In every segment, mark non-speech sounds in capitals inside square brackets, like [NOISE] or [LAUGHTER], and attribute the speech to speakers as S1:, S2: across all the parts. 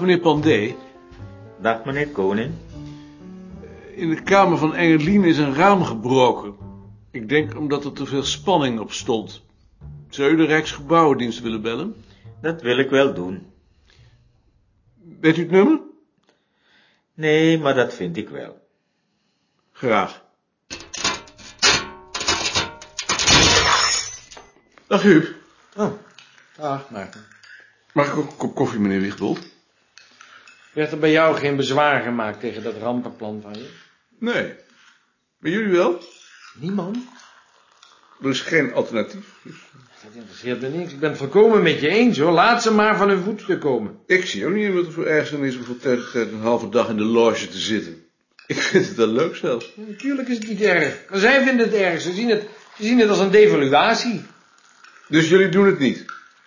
S1: meneer Pandé.
S2: Dag, meneer Koning.
S1: In de kamer van Engeline is een raam gebroken. Ik denk omdat er te veel spanning op stond. Zou u de Rijksgebouwendienst willen bellen?
S2: Dat wil ik wel doen.
S1: Weet u het nummer?
S2: Nee, maar dat vind ik wel.
S1: Graag. Dag Huub.
S3: Ah, Maarten.
S1: Mag ik ook een kop koffie, meneer Wichtbold?
S3: Werd er bij jou geen bezwaar gemaakt tegen dat rampenplan van je?
S1: Nee. Maar jullie wel?
S3: Niemand.
S1: Er is geen alternatief.
S3: Dat interesseert me niks. Ik ben het volkomen met je eens, hoor. Laat ze maar van hun voeten komen.
S1: Ik zie ook niet wat er voor ergens aan is om voor tijd tot tijd een halve dag in de loge te zitten. Ik vind het wel leuk zelf.
S3: Ja, natuurlijk is het niet erg. Maar zij vinden het erg. Ze zien het, ze zien het als een devaluatie.
S1: Dus jullie doen het niet?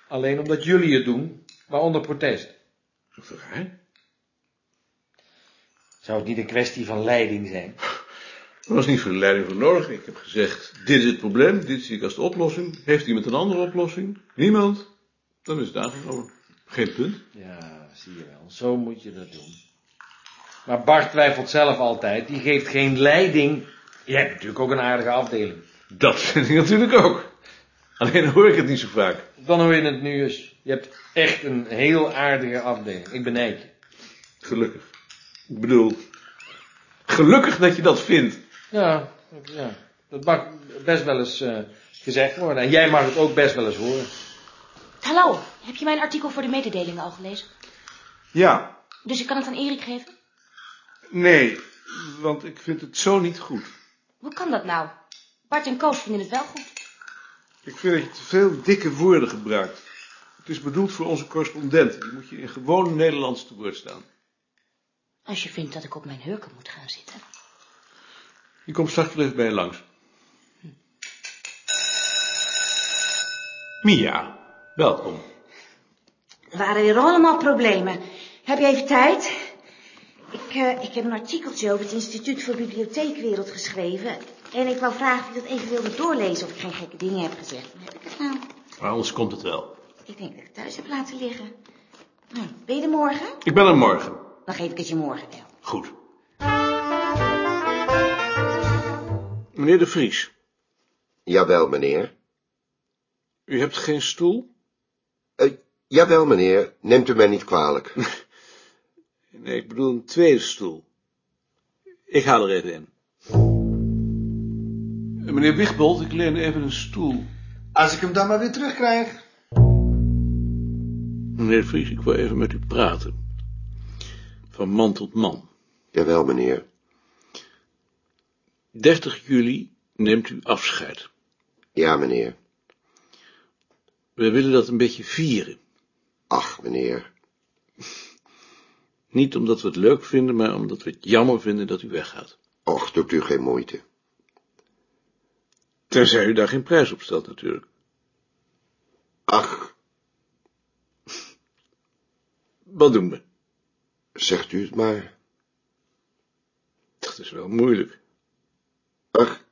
S3: Alleen omdat jullie het doen, waaronder protest.
S1: Wat raar.
S3: Zou het niet een kwestie van leiding zijn?
S1: Er was niet veel leiding voor nodig. Ik heb gezegd, dit is het probleem, dit zie ik als de oplossing. Heeft iemand een andere oplossing? Niemand? Dan is het aangenomen. Geen punt.
S3: Ja, zie je wel. Zo moet je dat doen. Maar Bart twijfelt zelf altijd. Die geeft geen leiding. Je hebt natuurlijk ook een aardige afdeling.
S1: Dat [LAUGHS] vind ik natuurlijk ook. Alleen hoor ik het niet zo vaak.
S3: Dan hoor je het nu eens. Je hebt echt een heel aardige afdeling. Ik benijd je.
S1: Gelukkig. Ik bedoel, gelukkig dat je dat vindt.
S3: Ja, ja. dat mag best wel eens eh, gezegd worden. En jij mag het ook best wel eens horen.
S4: Hallo, heb je mijn artikel voor de mededelingen al gelezen?
S1: Ja,
S4: Dus ik kan het aan Erik geven?
S1: nee, want ik vind het zo niet goed.
S4: Hoe kan dat nou? Bart en Koos vinden het wel goed.
S1: Ik vind dat je te veel dikke woorden gebruikt. Het is bedoeld voor onze correspondent. Die moet je in gewoon Nederlands te woord staan.
S4: Als je vindt dat ik op mijn hurken moet gaan zitten.
S1: Die komt straks wel even bij je langs. Mia, welkom.
S5: waren weer allemaal problemen. Heb je even tijd? Ik, eh, ik heb een artikeltje over het Instituut voor Bibliotheekwereld geschreven. En ik wou vragen of je dat even wilde doorlezen of ik geen gekke dingen heb gezegd. Maar heb ik het nou?
S1: Maar anders komt het wel.
S5: Ik denk dat ik het thuis heb laten liggen. Nou, ben je er morgen?
S1: Ik ben er morgen.
S5: Dan geef ik het je morgen wel.
S1: Goed. Meneer de Vries,
S6: Jawel, meneer.
S1: u hebt geen stoel?
S6: Eh, jawel, meneer. Neemt u mij niet kwalijk.
S1: Nee, ik bedoel een tweede stoel. Ik haal er even in. Eh, Meneer Wichbold, ik leen even een stoel.
S7: Als ik hem dan maar weer terugkrijg.
S1: Meneer de Vries, ik wil even met u praten. Van man tot man.
S6: Jawel, meneer.
S1: 30 juli neemt u afscheid.
S6: Ja, meneer.
S1: We willen dat een beetje vieren.
S6: Ach, meneer.
S1: Niet omdat we het leuk vinden, maar omdat we het jammer vinden dat u weggaat.
S6: Och, doet u geen moeite.
S1: Tenzij u daar geen prijs op stelt natuurlijk.
S6: Ach,
S1: Wat doen we?
S6: zegt u het maar.
S1: Dat is wel moeilijk.
S6: Ach,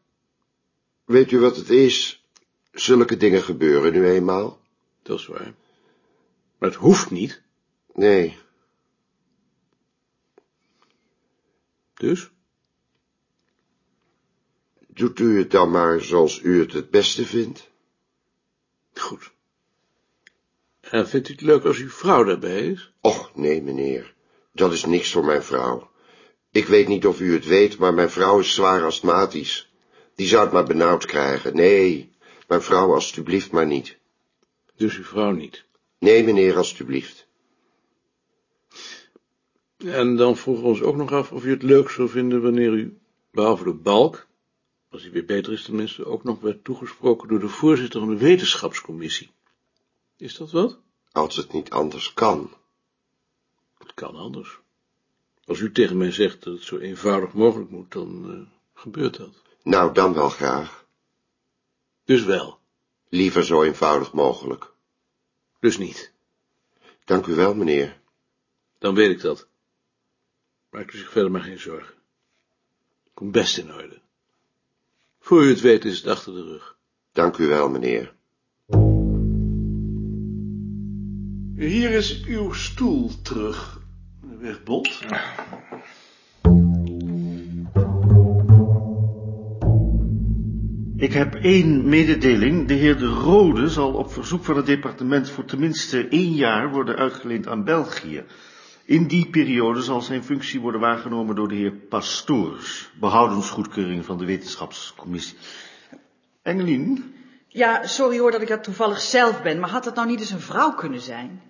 S6: weet u wat het is? Zulke dingen gebeuren nu eenmaal.
S1: Dat is waar. Maar het hoeft niet.
S6: Nee,
S1: Dus?
S6: doet u het dan maar zoals u het het beste vindt.
S1: Goed. En vindt u het leuk als uw vrouw daarbij is?
S6: Och, nee, meneer. Dat is niks voor mijn vrouw. Ik weet niet of u het weet, maar mijn vrouw is zwaar astmatisch. Die zou het maar benauwd krijgen. Nee, mijn vrouw alstublieft maar niet.
S1: Dus uw vrouw niet.
S6: Nee, meneer, alstublieft.
S1: En dan vroegen we ons ook nog af of u het leuk zou vinden wanneer u, behalve de balk, als hij weer beter is tenminste, ook nog werd toegesproken door de voorzitter van de wetenschapscommissie. Is dat wat?
S6: Als het niet anders kan.
S1: Het kan anders. Als u tegen mij zegt dat het zo eenvoudig mogelijk moet, dan eh, gebeurt dat.
S6: Nou, dan wel graag.
S1: Dus wel.
S6: Liever zo eenvoudig mogelijk.
S1: Dus niet.
S6: Dank u wel, meneer.
S1: Dan weet ik dat. Maak u zich verder maar geen zorgen. Komt best in orde. Voor u het weet is het achter de rug.
S6: Dank u wel, meneer.
S1: Hier is uw stoel terug.
S8: erg bot.
S9: Ik heb één mededeling. De heer De Rode zal op verzoek van het departement voor tenminste één jaar worden uitgeleend aan België. In die periode zal zijn functie worden waargenomen door de heer Pastoors, behoudens goedkeuring van de wetenschapscommissie. Engelien,
S10: Ja, sorry hoor dat ik dat toevallig zelf ben, maar had dat nou niet eens een vrouw kunnen zijn?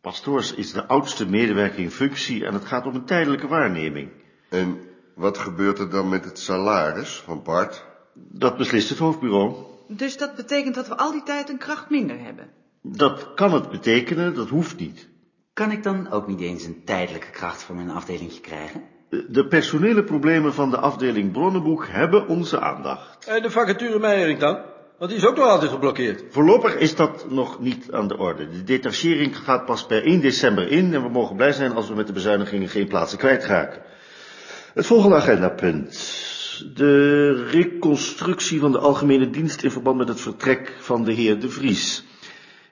S9: Pastoors is de oudste medewerker in functie en het gaat om een tijdelijke waarneming.
S6: En wat gebeurt er dan met het salaris van Bart?
S9: Dat beslist het hoofdbureau.
S10: Dus dat betekent dat we al die tijd een kracht minder hebben.
S9: Dat kan het betekenen, dat hoeft niet.
S11: Kan ik dan ook niet eens een tijdelijke kracht voor mijn afdelingje krijgen?
S9: De personele problemen van de afdeling Bronnenboek hebben onze aandacht.
S7: En de vacature Meijering dan? Want die is ook nog altijd geblokkeerd.
S9: Voorlopig is dat nog niet aan de orde. De detachering gaat pas per 1 december in en we mogen blij zijn als we met de bezuinigingen geen plaatsen kwijtraken. Het volgende agendapunt. De reconstructie van de algemene dienst in verband met het vertrek van de heer De Vries.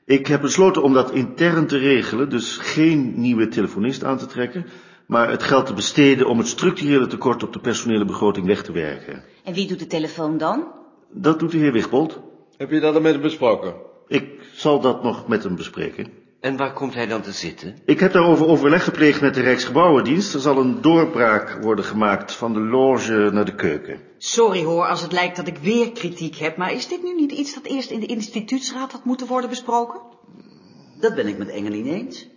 S9: Ik heb besloten om dat intern te regelen, dus geen nieuwe telefonist aan te trekken, maar het geld te besteden om het structurele tekort op de personele begroting weg te werken.
S5: En wie doet de telefoon dan?
S9: Dat doet de heer Wigbold.
S7: Heb je dat al met hem besproken?
S9: Ik zal dat nog met hem bespreken.
S11: En waar komt hij dan te zitten?
S9: Ik heb daarover overleg gepleegd met de Rijksgebouwendienst. Er zal een doorbraak worden gemaakt van de loge naar de keuken.
S10: Sorry hoor als het lijkt dat ik weer kritiek heb, maar is dit nu niet iets dat eerst in de instituutsraad had moeten worden besproken?
S11: Dat ben ik met Engelien eens.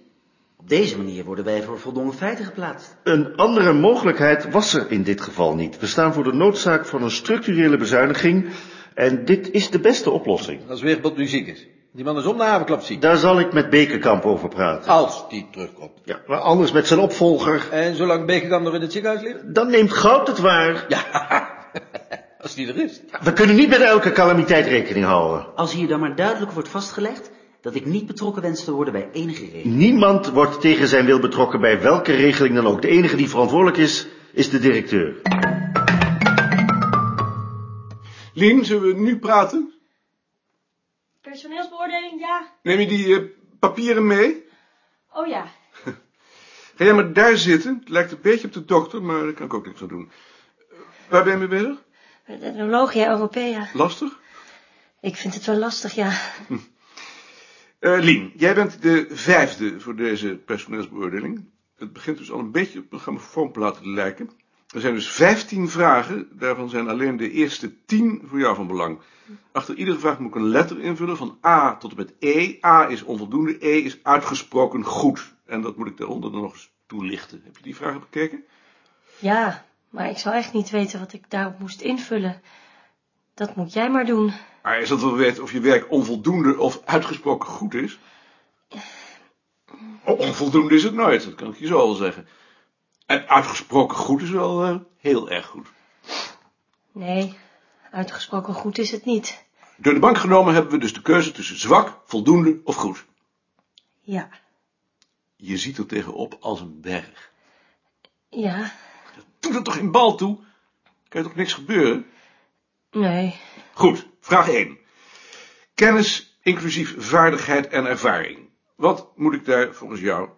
S11: Op deze manier worden wij voor voldongen feiten geplaatst.
S9: Een andere mogelijkheid was er in dit geval niet. We staan voor de noodzaak van een structurele bezuiniging en dit is de beste oplossing.
S7: Als Weerbot nu ziek is. Die man is om de havenklap ziek.
S9: Daar zal ik met Bekenkamp over praten.
S7: Als die terugkomt.
S9: Ja, maar anders met zijn opvolger.
S7: En zolang Bekenkamp nog in het ziekenhuis ligt?
S9: Dan neemt goud het waar.
S7: Als die er is.
S9: We kunnen niet met elke calamiteit rekening houden.
S11: Als hier dan maar duidelijk wordt vastgelegd dat ik niet betrokken wens te worden bij enige reden.
S9: Niemand wordt tegen zijn wil betrokken bij welke regeling dan ook. De enige die verantwoordelijk is, is de directeur.
S1: Lien, zullen we nu praten?
S12: Personeelsbeoordeling, ja.
S1: Neem je die eh, papieren mee?
S12: Oh ja.
S1: Ga jij maar daar zitten. Het lijkt een beetje op de dokter, maar daar kan ik ook niks aan doen. Eh, Waar ben je mee bezig?
S12: Met etnologia Europea.
S1: Lastig?
S12: Ik vind het wel lastig, ja.
S1: Eh, Lien, jij bent de vijfde voor deze personeelsbeoordeling. Het begint dus al een beetje op een grammofoonplaat te lijken. Er zijn dus vijftien vragen, daarvan zijn alleen de eerste tien voor jou van belang. Achter iedere vraag moet ik een letter invullen, van A tot en met E. A is onvoldoende, E is uitgesproken goed. En dat moet ik daaronder dan nog eens toelichten. Heb je die vragen bekeken?
S12: Ja, maar ik zou echt niet weten wat ik daarop moest invullen. Dat moet jij maar doen.
S1: Maar is dat wel weten of je werk onvoldoende of uitgesproken goed is? Oh, Onvoldoende is het nooit, dat kan ik je zo al zeggen. En uitgesproken goed is wel eh, heel erg goed.
S12: Nee, uitgesproken goed is het niet.
S1: Door de bank genomen hebben we dus de keuze tussen zwak, voldoende of goed.
S12: Ja,
S1: Je ziet er tegenop als een berg.
S12: ja,
S1: Doe er toch geen bal toe? Kan er toch niks gebeuren?
S12: nee.
S1: Goed, vraag 1. Kennis inclusief vaardigheid en ervaring. Wat moet ik daar volgens jou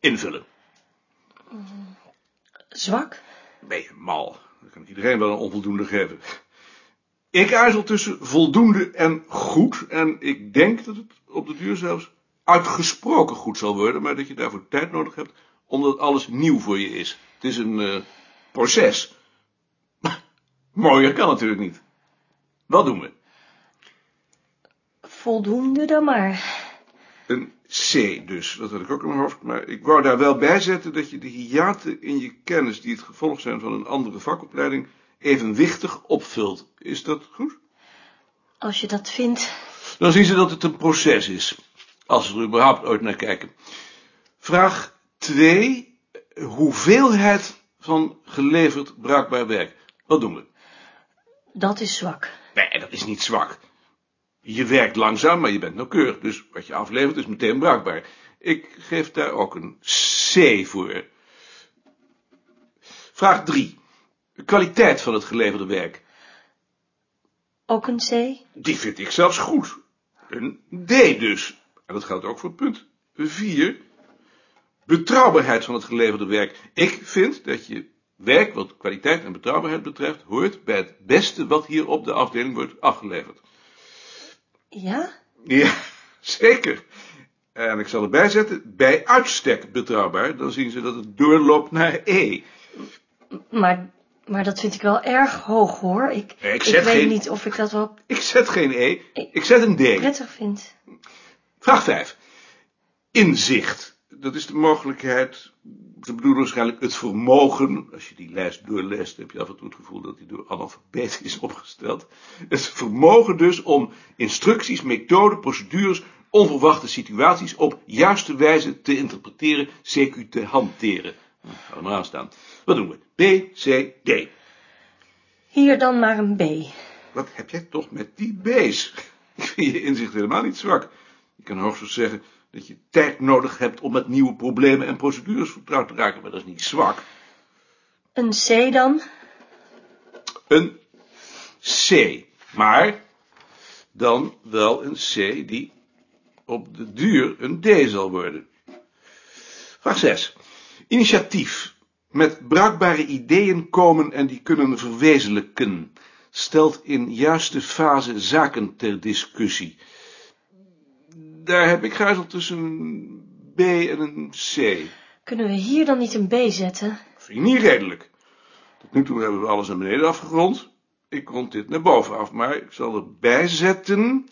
S1: invullen?
S12: Zwak?
S1: Ben je mal? Dan kan ik iedereen wel een onvoldoende geven. Ik aarzel tussen voldoende en goed. En ik denk dat het op de duur zelfs uitgesproken goed zal worden. Maar dat je daarvoor tijd nodig hebt, omdat alles nieuw voor je is. Het is een eh, proces. [LAUGHS] Mooier kan natuurlijk niet. Wat doen we?
S12: Voldoende dan maar.
S1: Een C dus, dat had ik ook in mijn hoofd. Maar ik wou daar wel bij zetten dat je de hiaten in je kennis... die het gevolg zijn van een andere vakopleiding... evenwichtig opvult. Is dat goed?
S12: Als je dat vindt.
S1: Dan zien ze dat het een proces is. Als ze er überhaupt ooit naar kijken. Vraag 2. Hoeveelheid van geleverd bruikbaar werk. Wat doen we?
S12: Dat is zwak.
S1: Nee, dat is niet zwak. Je werkt langzaam, maar je bent nauwkeurig. Dus wat je aflevert is meteen bruikbaar. Ik geef daar ook een C voor. Vraag 3. Kwaliteit van het geleverde werk.
S12: Ook een C?
S1: Die vind ik zelfs goed. Een D dus. En dat geldt ook voor punt 4. Betrouwbaarheid van het geleverde werk. Ik vind dat je werk wat kwaliteit en betrouwbaarheid betreft... hoort bij het beste wat hier op de afdeling wordt afgeleverd.
S12: Ja?
S1: Ja, zeker. En ik zal erbij zetten, bij uitstek betrouwbaar. Dan zien ze dat het doorloopt naar E.
S12: Maar, maar dat vind ik wel erg hoog, hoor. Ik,
S1: Ik
S12: ik
S1: zet
S12: weet
S1: geen-
S12: niet of ik dat wel
S1: Ik zet geen E, ik zet een D.
S12: prettig vind.
S1: Vraag 5. Inzicht. Dat is de mogelijkheid, ze bedoelen waarschijnlijk het vermogen. Als je die lijst doorleest, heb je af en toe het gevoel dat die door analfabeten [LAUGHS] is opgesteld. Het vermogen dus om instructies, methoden, procedures, onverwachte situaties op juiste wijze te interpreteren, CQ te hanteren. Nou, Ga er maar aan staan. Wat doen we? B, C, D.
S12: Hier dan maar een B.
S1: Wat heb jij toch met die bees? [LAUGHS] Ik vind je inzicht helemaal niet zwak. Je kan hoogstens zeggen dat je tijd nodig hebt om met nieuwe problemen en procedures vertrouwd te raken, maar dat is niet zwak.
S12: Een C dan?
S1: Een C, maar dan wel een C die op de duur een D zal worden. Vraag 6. Initiatief. Met bruikbare ideeën komen en die kunnen verwezenlijken. Stelt in juiste fase zaken ter discussie. Daar heb ik gehuizeld tussen een B en een C.
S12: Kunnen we hier dan niet een B zetten?
S1: Vind ik niet redelijk. Tot nu toe hebben we alles naar beneden afgerond. Ik rond dit naar boven af, maar ik zal erbij zetten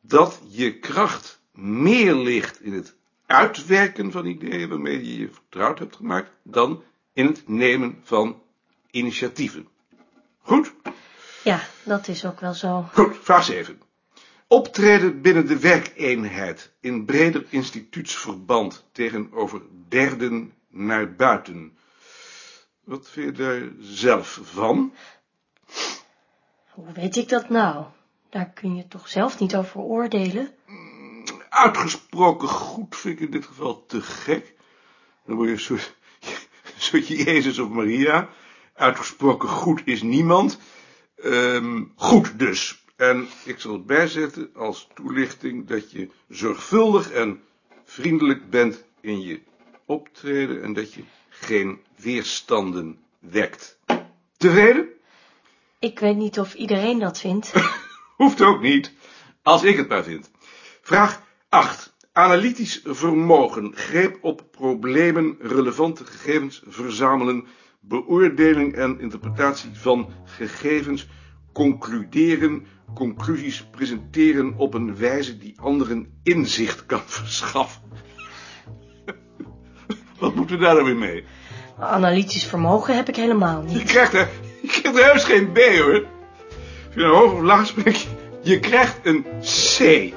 S1: dat je kracht meer ligt in het uitwerken van ideeën waarmee je je vertrouwd hebt gemaakt, dan in het nemen van initiatieven. Goed?
S12: Ja, dat is ook wel zo.
S1: Goed, vraag 7. Optreden binnen de werkeenheid in breder instituutsverband tegenover derden naar buiten. Wat vind je daar zelf van?
S12: Hoe weet ik dat nou? Daar kun je toch zelf niet over oordelen?
S1: Uitgesproken goed vind ik in dit geval te gek. Dan word je een [LAUGHS] soort, een soort Jezus of Maria. Uitgesproken goed is niemand. Ehm, goed dus. En ik zal het bijzetten als toelichting dat je zorgvuldig en vriendelijk bent in je optreden en dat je geen weerstanden wekt. Tevreden?
S12: Ik weet niet of iedereen dat vindt.
S1: Hoeft ook niet, als ik het maar vind. Vraag 8. Analytisch vermogen, greep op problemen, relevante gegevens verzamelen, beoordeling en interpretatie van gegevens, concluderen, conclusies presenteren op een wijze die anderen inzicht kan [LAUGHS] verschaffen. Wat moeten we daar dan weer mee?
S12: Analytisch vermogen heb ik helemaal niet.
S1: Je krijgt er, je krijgt er heus geen B hoor. Als je nou hoog of laag spreekt, je krijgt een C.